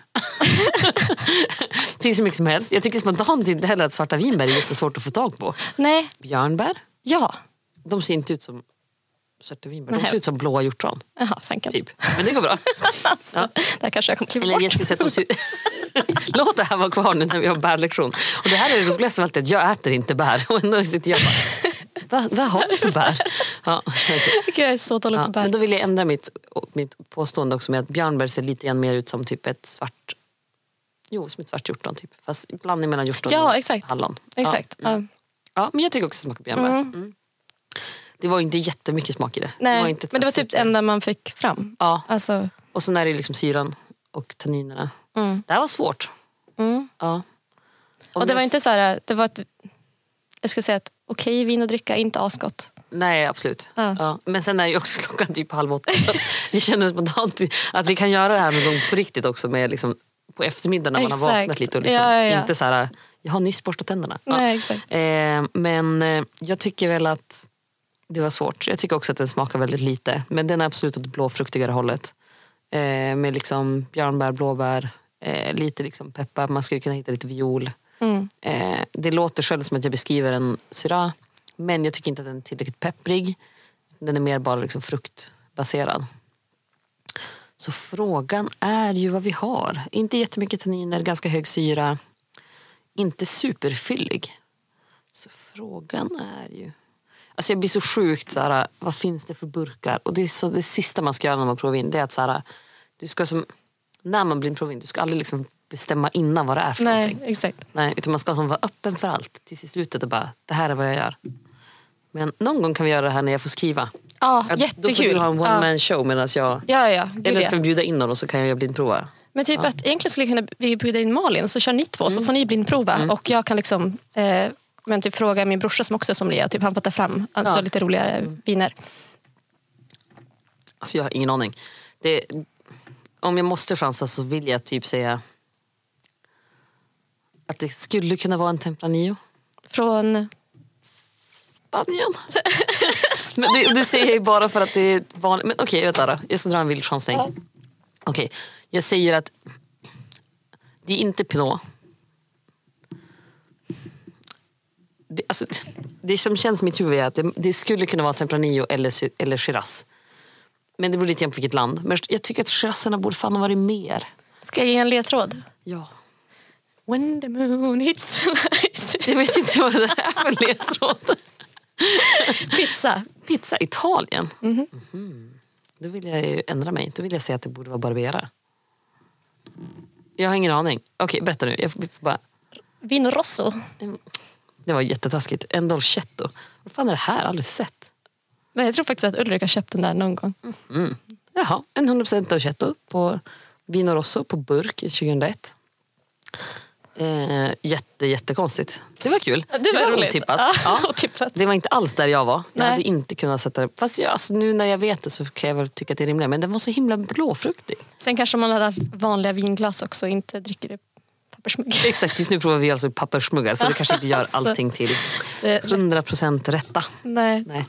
<laughs> Finns hur mycket som helst. Jag tycker spontant inte heller att svarta vinbär är jättesvårt att få tag på. Nej, Björnbär. ja. De ser inte ut som svarta vinbär. De Nej. ser ut som blåa hjortron. Jaha, fanken. Typ. Men det går bra. Alltså, Det här kanske jag kommer klippa Eller bort. jag skulle säga att de ser ut... <laughs> Låt det här vara kvar nu när vi har bärlektion. Och det här är det roligaste av allt, att jag äter inte bär. <laughs> Och ändå sitter jag bara, Va, vad har du för bär? Ja, okej. Gud, Jag är så dålig ja, på bär. men då vill jag ändra mitt, mitt påstående också med att björnbär ser lite grann mer ut som typ ett svart... Jo, som ett svart hjortron typ. Fast blandning mellan hjortron Ja, och exakt. hallon. Exakt. Ja, mm. ja, men jag tycker också att det smakar björnbär. Mm. Det var ju inte jättemycket smak i det. Nej, det var inte ett men det var så här typ det super- enda man fick fram. Ja, Alltså, och sen är det liksom syran och tanninerna. mm, Det här var svårt. mm. Ja. Och det var inte så här, det var ett, jag skulle säga att okej vin att dricka, inte asgott. Nej, absolut. Ja. Ja. Men sen är ju också <laughs> klockan typ halv åtta. Så att det kändes spontant att vi kan göra det här med dem på riktigt också. Med liksom, på eftermiddagen när man har Exakt. vaknat lite och liksom, Ja, ja, ja. inte så här, jag har nyss borstat tänderna. Ja. Nej, exakt. Eh, men eh, jag tycker väl att Det var svårt. Jag tycker också att den smakar väldigt lite. Men den är absolut åt det blåfruktigare hållet. Eh, med liksom björnbär, blåbär, eh, lite liksom peppar. Man skulle kunna hitta lite viol. Mm. Eh, det låter själv som att jag beskriver en syra. Men jag tycker inte att den är tillräckligt pepprig. Den är mer bara liksom fruktbaserad. Så frågan är ju vad vi har. Inte jättemycket tanniner, ganska hög syra. Inte superfyllig. Så frågan är ju... Alltså jag blir så sjukt så här, vad finns det för burkar? Och det, är så, det sista man ska göra när man provar in det är att så här, du ska som, när man blir en provin, du ska aldrig liksom bestämma innan vad det är för Nej, någonting. exakt. Nej, utan man ska som vara öppen för allt tills i slutet och bara, det här är vad jag gör. Men någon gång kan vi göra det här när jag får skriva. Ja, Att Då får jättekul. du ha en one ja. man show medan jag... ja, ja, gud, Eller ja. ska vi bjuda in någon och så kan jag blindprova. Men typ att egentligen skulle kunna vi bjuda in Malin så kör ni två Mm. så får ni blindprova och jag kan liksom eh, men typ fråga min brorsa som också är sommelier, typ han får ta fram alltså Ja. Mm. lite roligare viner. Alltså jag har ingen aning. Det, om jag måste chansa så vill jag typ säga att det skulle kunna vara en Tempranillo. Från, Spanien. <laughs> men det, det säger jag ju bara för att det är vanligt. Men okej, vänta då. Jag ska dra en vild chansning. Ja. Okej, jag säger att det är inte Pinot. Det, alltså, det som känns i mitt huvud är att det, det skulle kunna vara Tempranillo eller, Sy- eller Shiraz. Men det beror lite grann på vilket land. Men jag tycker att Shirazerna borde fan ha varit mer. ska jag ge en ledtråd? Ja. When the moon hits the lights. Jag vet inte vad det är för ledtråd. <laughs> Pizza. Pizza Italien? Mhm. Då vill jag ju ändra mig. Då vill jag säga att det borde vara Barbera. Jag har ingen aning. Okej, berätta nu. Jag får får bara... Vino rosso. Det var jättetaskigt. En dolcetto. Vad fan är det här? Aldrig sett. Nej, jag tror faktiskt att Ulrik har köpt den där någon gång. Jaha, en 100% dolcetto på Vino Rosso på burk i 2001. Eh, jätte, jättekonstigt. Det var kul. Det var, roligt. otippat. Ja, Ja. <laughs> otippat. Det var inte alls där jag var. Jag Nej. hade inte kunnat sätta det. Fast jag, alltså, nu när jag vet det så kan jag väl tycka att det är rimligt. Men den var så himla blåfruktig. Sen kanske man hade haft vanliga vinglas också och inte dricker i pappersmugg. Exakt, just nu provar vi alltså papperssmuggar så det kanske inte gör <laughs> Alltså. allting till Det- 100% rätta. Nej. Nej.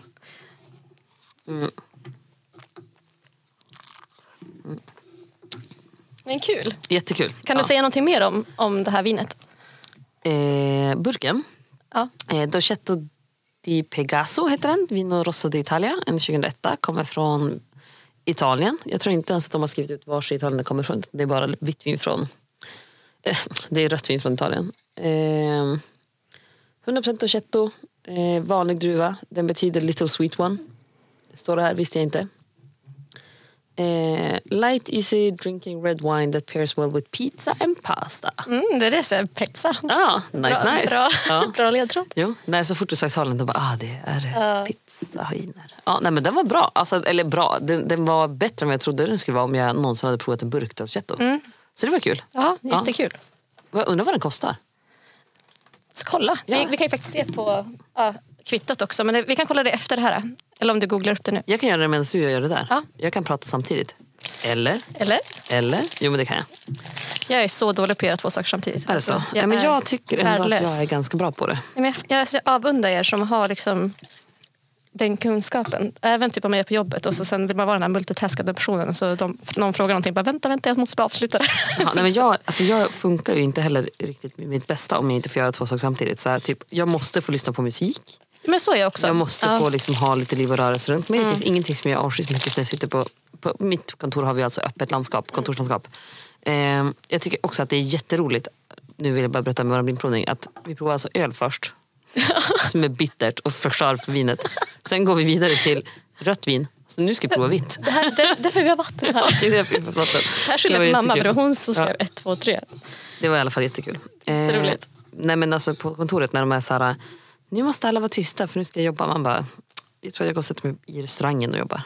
Men kul. Jättekul. Kan ja. du säga någonting mer om, om det här vinet? Eh, burken. Ja. Eh, Dolcetto di Pegaso heter den. Vino Rosso d'Italia, en 2001. Kommer från Italien. Jag tror inte ens att de har skrivit ut vars i Italien det kommer från. Det är bara vitt vin från... Eh, det är rött vin från Italien. Eh, 100% Dolcetto. Eh, vanlig druva. Den betyder Little Sweet One. Det står det här, visste jag inte. Eh, light easy drinking red wine that pairs well with pizza and pasta. Mm, det är det jag säger, pizza. Ja, Ah, nice bra, nice. Bra, <laughs> Ja. bra ledtråd. Jo, nej, så fort du sa Italien, då bara, ah, det är Ja. uh. pizzahiner. Ja, nej, men den var bra. Alltså, eller bra, den, den var bättre än vad jag trodde den skulle vara om jag någonsin hade provat en burk dolcetto. Så det var kul. Mm. Ja, jättekul. Och Jag undrar vad den kostar. Så kolla. Ja. Vi, vi kan ju faktiskt se på ja, kvittot också, men det, vi kan kolla det efter det här. Eller om du googlar upp det nu. Jag kan göra det medan du gör det där. Ja. Jag kan prata samtidigt. Eller? Eller? Eller? Jo, men det kan jag. Jag är så dålig på att göra två saker samtidigt. Är det så? Alltså, jag Ja, men är jag tycker ändå värdelös. att jag är ganska bra på det. Nej, men jag, alltså, jag, jag avundar er som har liksom den kunskapen. Även typ om jag är på jobbet och så sen vill man vara den här multitaskande personen. Så de, någon frågar någonting, bara vänta, vänta, jag måste bara avsluta det. Ja, nej, men jag, alltså jag funkar ju inte heller riktigt med mitt bästa om jag inte får göra två saker samtidigt. Så här, typ, jag måste få lyssna på musik. <laughs> Men så är jag också. Jag måste Ja. Mm. få liksom ha lite liv och rörelse runt mig. Det finns ingenting som jag avskyr så mycket som jag sitter på, på mitt kontor har vi alltså öppet landskap, kontorslandskap. Eh, jag tycker också att det är jätteroligt, nu vill jag bara berätta med vår blindprovning, att vi provar alltså öl <laughs> först. som är bittert och förstör för vinet. Sen går vi vidare till rött vin. Så nu ska vi prova vitt. <laughs> Det här, det, därför vi har vatten här. Det är det jag fick på vatten. Här skyller Det jag var på mamma, för det jättekul. var hon som skrev Ja. ett, två, tre. Det var i alla fall jättekul. Jätteroligt. nej men alltså på kontoret när de är så här, nu måste alla vara tysta för nu ska jag jobba. Man bara, jag tror jag går och sätter mig i restaurangen och jobbar.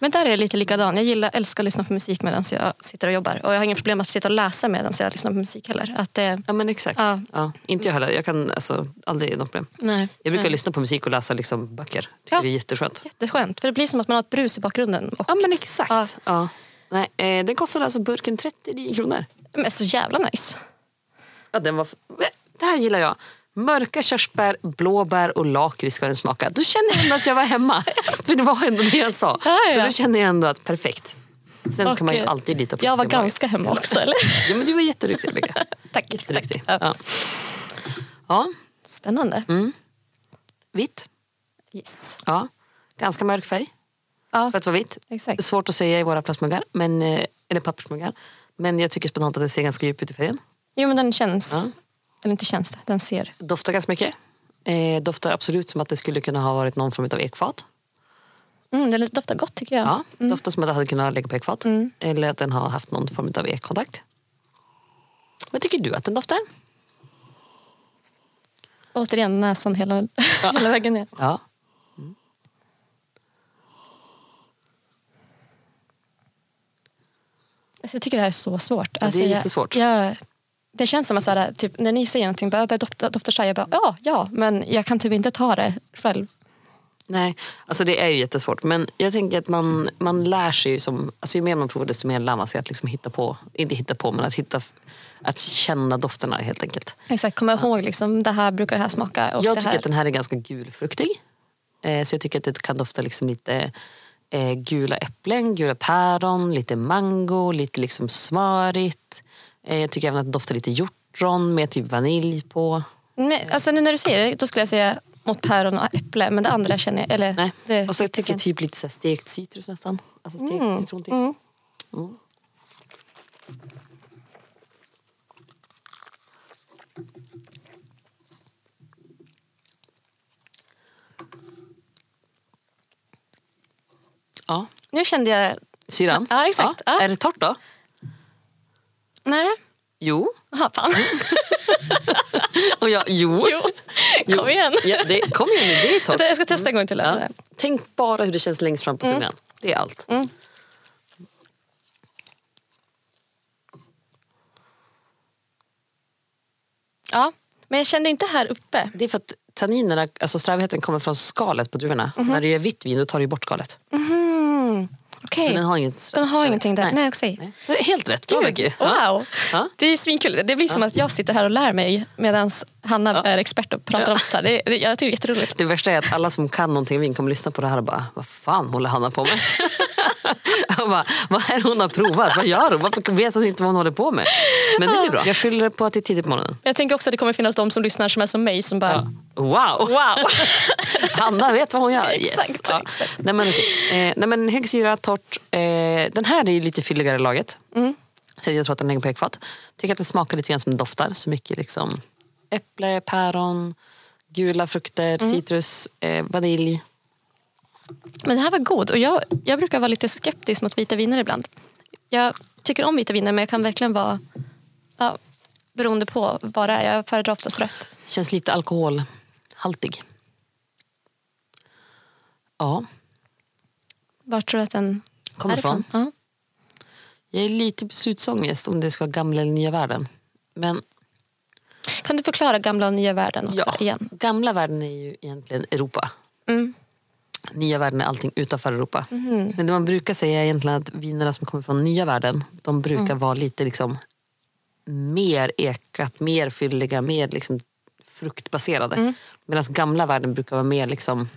Men där är jag lite likadan. Jag gillar, älskar att lyssna på musik medan jag sitter och jobbar. Och jag har inga problem att sitta och läsa medan jag lyssnar på musik heller. Att eh, det, Ja men exakt. Ja. Ja. inte jag heller. Jag kan alltså, aldrig något problem. nej, Jag brukar nej. lyssna på musik och läsa liksom, böcker. Tycker Ja. det är jätteskönt. Jätteskönt, för det blir som att man har ett brus i bakgrunden. Och, Ja men exakt. Ja. Ja. Nej, eh, den kostade alltså burken 39 kronor. men så jävla nice. Ja, den var... f- Det här gillar jag. Mörka körsbär, blåbär och lakrits ska den smaka. Då känner jag ändå att jag var <laughs> hemma. För det var ändå det jag sa. Ja, ja. Så då känner jag ändå att perfekt. Sen Och, kan man ju eh, alltid lita på Jag var Systembolaget. ganska hemma <laughs> också. Eller? Ja, men du var jätteduktig <laughs> Rebecka. tack. Jätteduktig. tack. Ja. Ja. Ja, Spännande. Mm. vitt. Yes. Ja. Ganska mörk färg Ja, för att vara vitt. exakt. Svårt att säga i våra plastmuggar, men, eh, eller pappersmuggar. Men jag tycker spontant att det ser ganska djup ut i färgen. Jo, men den känns. Ja. Eller inte känns det, den ser. Doftar ganska mycket. Eh, doftar absolut som att det skulle kunna ha varit någon form av ekfat. Mm, den doftar gott tycker jag. Ja, Doftar som att det hade kunnat lägga på ekfat. Eller att den har haft någon form av ekkontakt. Vad tycker du att den doftar? Återigen näsan hela, <laughs> hela vägen ner. Ja. Alltså, jag tycker det här är så svårt. Alltså, det är jag- jättesvårt. Jag, det känns som att så här, typ, när ni säger någonting, bara, det doftar, doftar så här, jag bara ja, ja, men jag kan typ inte ta det själv. Nej, alltså det är ju jättesvårt. Men jag tänker att man, man lär sig ju som... Alltså ju mer man provar desto mer lär man sig att liksom hitta på. Inte hitta på, men att, hitta, att känna dofterna helt enkelt. Exakt, komma ihåg liksom, det här brukar det här smaka. Och jag eh, det tycker här. att den här är ganska gulfruktig. Eh, så jag tycker att det kan dofta liksom lite eh, gula äpplen, gula päron, lite mango, lite liksom smörigt. Eh, jag tycker även att det doftar lite hjortron med typ vanilj på. Nej, alltså, nu när du säger det, då skulle jag säga mot päron och äpple, men det andra känner jag, eller Nej. det och så jag tycker tycker jag Mm. jag typ lite så här stekt citrus nästan. Alltså stekt citron typ. Ja, Nu kände jag, syran. Ja, exakt. Ja. Är det torrt då? nej, Jo. jaha fan, Mm. Och jag, jo. <laughs> jo, <laughs> kom igen. Ja, det, kom igen nu, det är torrt. Vänta, Jag ska testa en gång till. Ja. Tänk bara hur det känns längst fram på Mm. tungan. Det är allt. Ja, men jag kände inte här uppe. Det är för att tanninerna, alltså strävheten kommer från skalet på druvorna. När du gör vitt vin då tar du ju bort skalet. Mm. Okej, Så den har inget de har ingenting där. Nej, okej. Nej. Så helt rätt, bra Becky. Gud, Ja. Wow! Ja. Det är svinkul. Det blir som att jag sitter här och lär mig medan Hanna är expert och pratar om sånt här. Det, det, jag tycker det är jätteroligt. Det värsta är att alla som kan någonting om vin kommer lyssna på det här och bara, vad fan håller Hanna på <laughs> med? och bara, vad är det hon har provat? Vad gör hon? Varför vet hon inte vad hon håller på med? Men det blir bra. Jag skyller på att det är tidigt på morgonen. Jag tänker också att det kommer finnas de som lyssnar som är som mig som bara Wow! wow. <laughs> Hanna vet vad hon gör. Yes. <laughs> Exakt, Ja. exakt. Nej, men, okej. eh, nej, men hög syra, torrt. Eh, den här är ju lite fylligare i laget. Mm. Så jag tror att den ligger på ekfat. Tycker att den smakar lite grann som det doftar. Så mycket liksom äpple, päron, gula frukter, Mm. citrus, eh, vanilj. Men den här var god och jag, jag brukar vara lite skeptisk mot vita viner ibland. Jag tycker om vita viner men jag kan verkligen vara ja, beroende på vad det är. Jag föredrar oftast rött. Känns lite alkoholhaltig. Ja, Var tror du att den Kommer är ifrån? Ja. jag är lite beslutsångest om det ska vara gamla eller nya världen. Men Kan du förklara gamla och nya världen också ja, igen? gamla världen är ju egentligen Europa. Mm. nya världen är allting utanför Europa. Men det man brukar säga är egentligen att vinerna som kommer från nya världen, de brukar vara lite liksom mer ekat, mer fylliga, mer liksom fruktbaserade. Medan gamla världen brukar vara mer liksom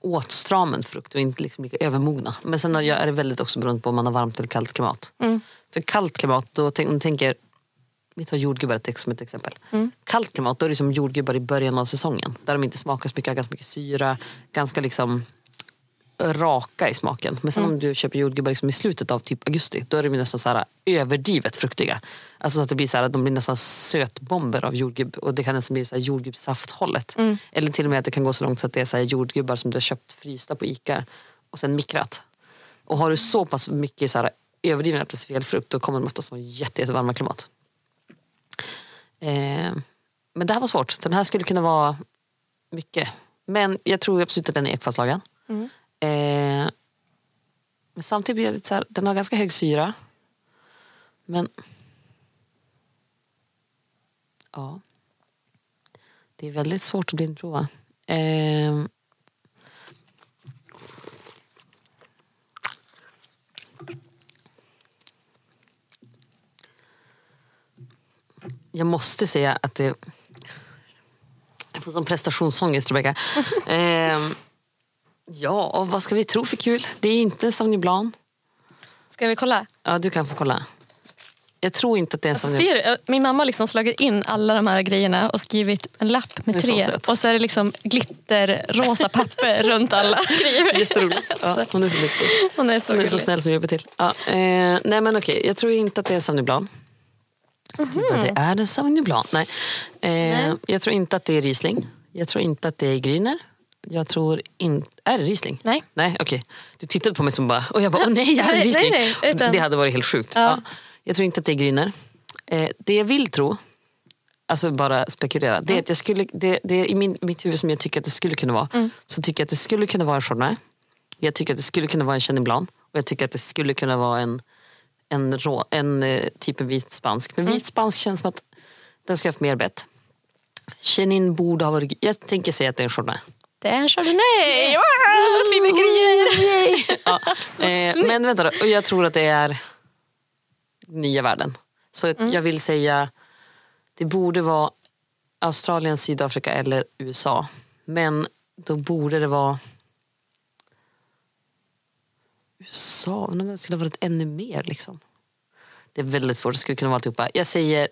åtstramen frukt och inte liksom lika övermogna. Men sen är det väldigt också beroende på om man har varmt eller kallt klimat. För kallt klimat, då tänk, om du tänker vi tar jordgubbar ett- som ett exempel. Kallt klimat, då är det som jordgubbar i början av säsongen. Där de inte smakar så mycket, har ganska mycket syra, ganska liksom raka i smaken. Men sen om du köper jordgubbar liksom i slutet av typ augusti, då är de ju nästan så här överdrivet fruktiga. Alltså så att det blir så här, att de blir nästan sötbomber av jordgubb och det kan nästan bli så här jordgubbssafthållet. Eller till och med att det kan gå så långt så att det är så här jordgubbar som du har köpt frysta på Ica och sen mikrat. Och har du så pass mycket så här överdriven artificiell frukt då kommer de oftast från jätte, jättevarma klimat. Eh, men det här var svårt. Den här skulle kunna vara mycket. Men jag tror absolut att den är ekfatslagen. Mm. Eh, men samtidigt blir det lite så här, den har ganska hög syra. Men... Ja. Det är väldigt svårt att blindprova. Eh, jag måste säga att det... får som prestationsångest Rebecka. Ehm, ja, och vad ska vi tro för kul? Det är inte Sauvignon Blanc. Ska vi kolla? Ja, du kan få kolla. Jag tror inte att det är Alltså, Sauvignon ser du? Eh, Min mamma har liksom slagit in alla de här grejerna och skrivit en lapp Det är med så tre. sött. och så är det liksom <laughs> glitterrosa papper runt alla grejer. <laughs> Jätteroligt. Ja, hon är så duktig. Hon är så Hon är gullig. så snäll som hjälper till. Ja, eh, nej men okej, jag tror inte att det är en Sauvignon Blanc. Jag tror inte Mhm. att det är en Sauvignon Blanc. Nej. Eh, Jag tror inte att det är Riesling. Jag tror inte att det är Grüner. Jag tror inte... Är det Riesling? Nej. Nej, okej. Du tittade på mig som bara... Och jag bara, åh nej, är det Nej, Riesling? nej, nej, utan- Det hade varit helt sjukt. Ja. Ja. Jag tror inte att det är Grüner. Eh, det jag vill tro, alltså bara spekulera, det är att jag skulle, det, det är i min, mitt huvud som jag tycker att det skulle kunna vara, så tycker jag att det skulle kunna vara en Chardonnay. Jag tycker att det skulle kunna vara en Chenin Blanc. Och jag tycker att det skulle kunna vara en, en, rå, en eh, typ av vit spansk. Men vit spansk känns som att den ska ha haft mer bett. Chenin borde ha varit... Jag tänker säga att det är en Chardonnay. Det är en chardonnay! Yes. Wow, fina grejer! Ja. Så Eh, snyggt. men vänta då, och jag tror att det är nya världen. Så Mm. att jag vill säga, det borde vara Australien, Sydafrika eller USA. Men då borde det vara USA. Undrar om det skulle ha varit ännu mer. Liksom. Det är väldigt svårt, det skulle kunna vara alltihopa. Jag säger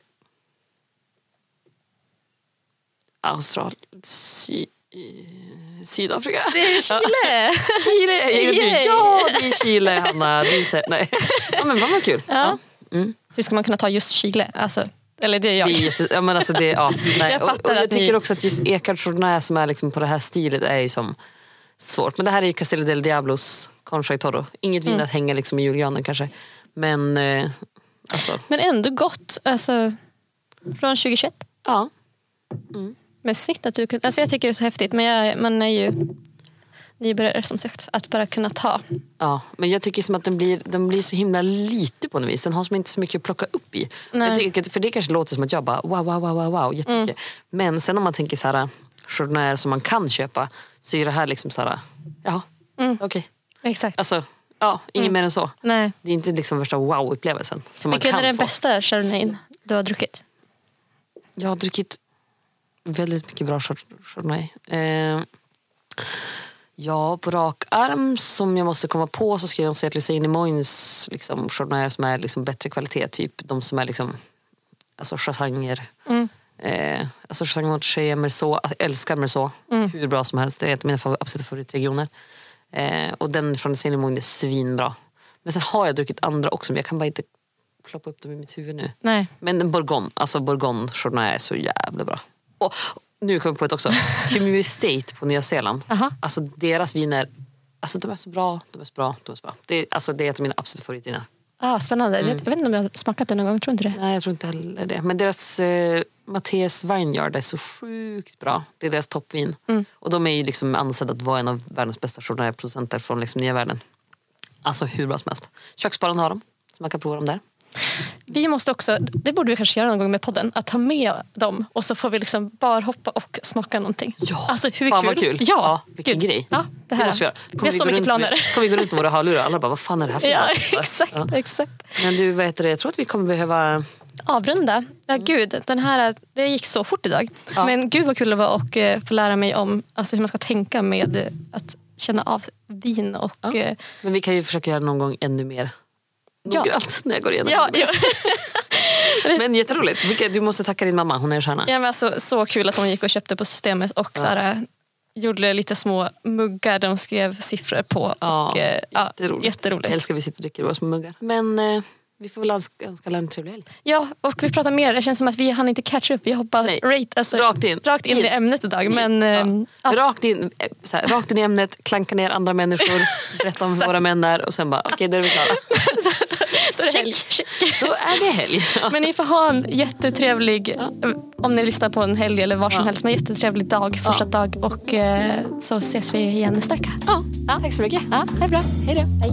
Australien, Sy- eh, Sydafrika. <laughs> Det är Chile! Chile! Jag tänkte, Yay! Ja, det är Chile, Hanna. Du ser, nej. Ja, men vad kul. Ja. Mm. <laughs> Hur ska man kunna ta just Chile? Alltså, eller det är Det jag. är jätte, ja, men alltså det, ja, nej. Jag och, fattar och jag att ni- tycker också att just Eckhard Chardonnay som är liksom på det här stilet är ju som svårt. Men det här är ju Castillo del Diablos Concha y Toro. Inget Mm. vin att hänga liksom i julgranen kanske. Men eh, alltså, Men ändå gott. Alltså, från 2021. ja. Men snyggt att du kunde... Alltså jag tycker det är så häftigt. Men jag, man är ju nybörjare som sagt. Att bara kunna ta. Ja, men jag tycker som att den blir, den blir så himla lite på något vis. Den har som inte så mycket att plocka upp i. Nej. Mm. Jag tycker, för det kanske låter som att jag bara wow, wow, wow, wow, wow jättemycket. Men sen om man tänker så här, chardonnay som man kan köpa så är det här liksom så här, ja, Mm. okej. Exakt. Alltså, ja, inget Mm. mer än så. Nej. Det är inte liksom värsta wow-upplevelsen som man Vilken kan är den få. bästa chardonnayn du har druckit? Jag har druckit väldigt mycket bra chard- chardonnay. Eh, ja, på rak arm som jag måste komma på så skulle jag säga att Lucine Moins liksom, chardonnayer som är liksom bättre kvalitet, typ de som är liksom alltså chassanger. Mm. Eh, alltså Chassagne Montrachet, Merceau, alltså, jag älskar Merceau hur bra som helst. Det är en av mina favor- absoluta favoritregioner. Eh, och den från Lucine Moins är svinbra. Men sen har jag druckit andra också men jag kan bara inte ploppa upp dem i mitt huvud nu. Nej. Men en bourgogne, alltså bourgogne chardonnay är så jävla bra. Och nu kom jag på ett också. Kumu Estate på Nya Zeeland. Aha. Alltså deras viner, alltså de är så bra, de är så bra, de är så bra. Det är, alltså, det är ett av mina absoluta favoritviner. Ah, spännande. Jag, vet, jag vet inte om jag har smakat den någon gång. Jag tror inte det. Nej, jag tror inte heller det. Men deras eh, Mattias Vineyard är så sjukt bra. Det är deras toppvin. Och de är ju liksom ansedda att vara en av världens bästa chardonnayproducenter från liksom nya världen. Alltså hur bra som helst. Köksbaren har dem, så man kan prova dem där. Vi måste också, det borde vi kanske göra någon gång med podden, att ta med dem och så får vi liksom bara hoppa och smaka någonting. Ja, alltså, hur fan kul. vad kul. Ja, vilken Gud. grej. Ja, det här. Det måste vi göra. Då vi har så gå mycket runt med- planer. kommer vi gå runt med våra hörlurar och alla bara, vad fan är det här för Ja, något? Va? <laughs> exakt, <laughs> Ja. exakt. Men du, vad heter det? jag tror att vi kommer behöva... Avrunda. Ja, gud, den här, det gick så fort idag. Ja. Men gud vad kul det var och eh, få lära mig om alltså, hur man ska tänka med eh, att känna av vin och... Ja. eh, Men vi kan ju försöka göra någon gång ännu mer Ja. noggrant <laughs> när jag går igenom. ja, ja. Men jätteroligt. Vilka- Du måste tacka din mamma, hon är en stjärna. <laughs> Ja, men alltså, så kul att hon gick och köpte på Systemet och så här, gjorde lite små muggar där hon skrev siffror på. Ja, och, eh, ja, jätteroligt. Jag jätteroligt. älskar att vi sitter och dricker våra små muggar. Men eh, vi får väl önska önska alla en trevlig helg. Ja, och vi pratar mer. Det känns som att vi hann inte catcha upp. Vi hoppar Nej. rate, alltså, Rakt in. rakt in i ämnet idag. Men, ehm, ja. Rakt, in, eh, så här, rakt in i ämnet, klanka ner andra <laughs> människor, berätta om hur våra män är och sen bara, okej då är vi klara. så är det helg. Check. Då är det helg. Men ni får ha en jättetrevlig, eh, om ni lyssnar på en helg eller var som helst, men jättetrevlig dag, fortsatt dag. Och eh, så ses vi igen nästa vecka. Ja, tack så mycket. Ja, ha det bra. Hej då.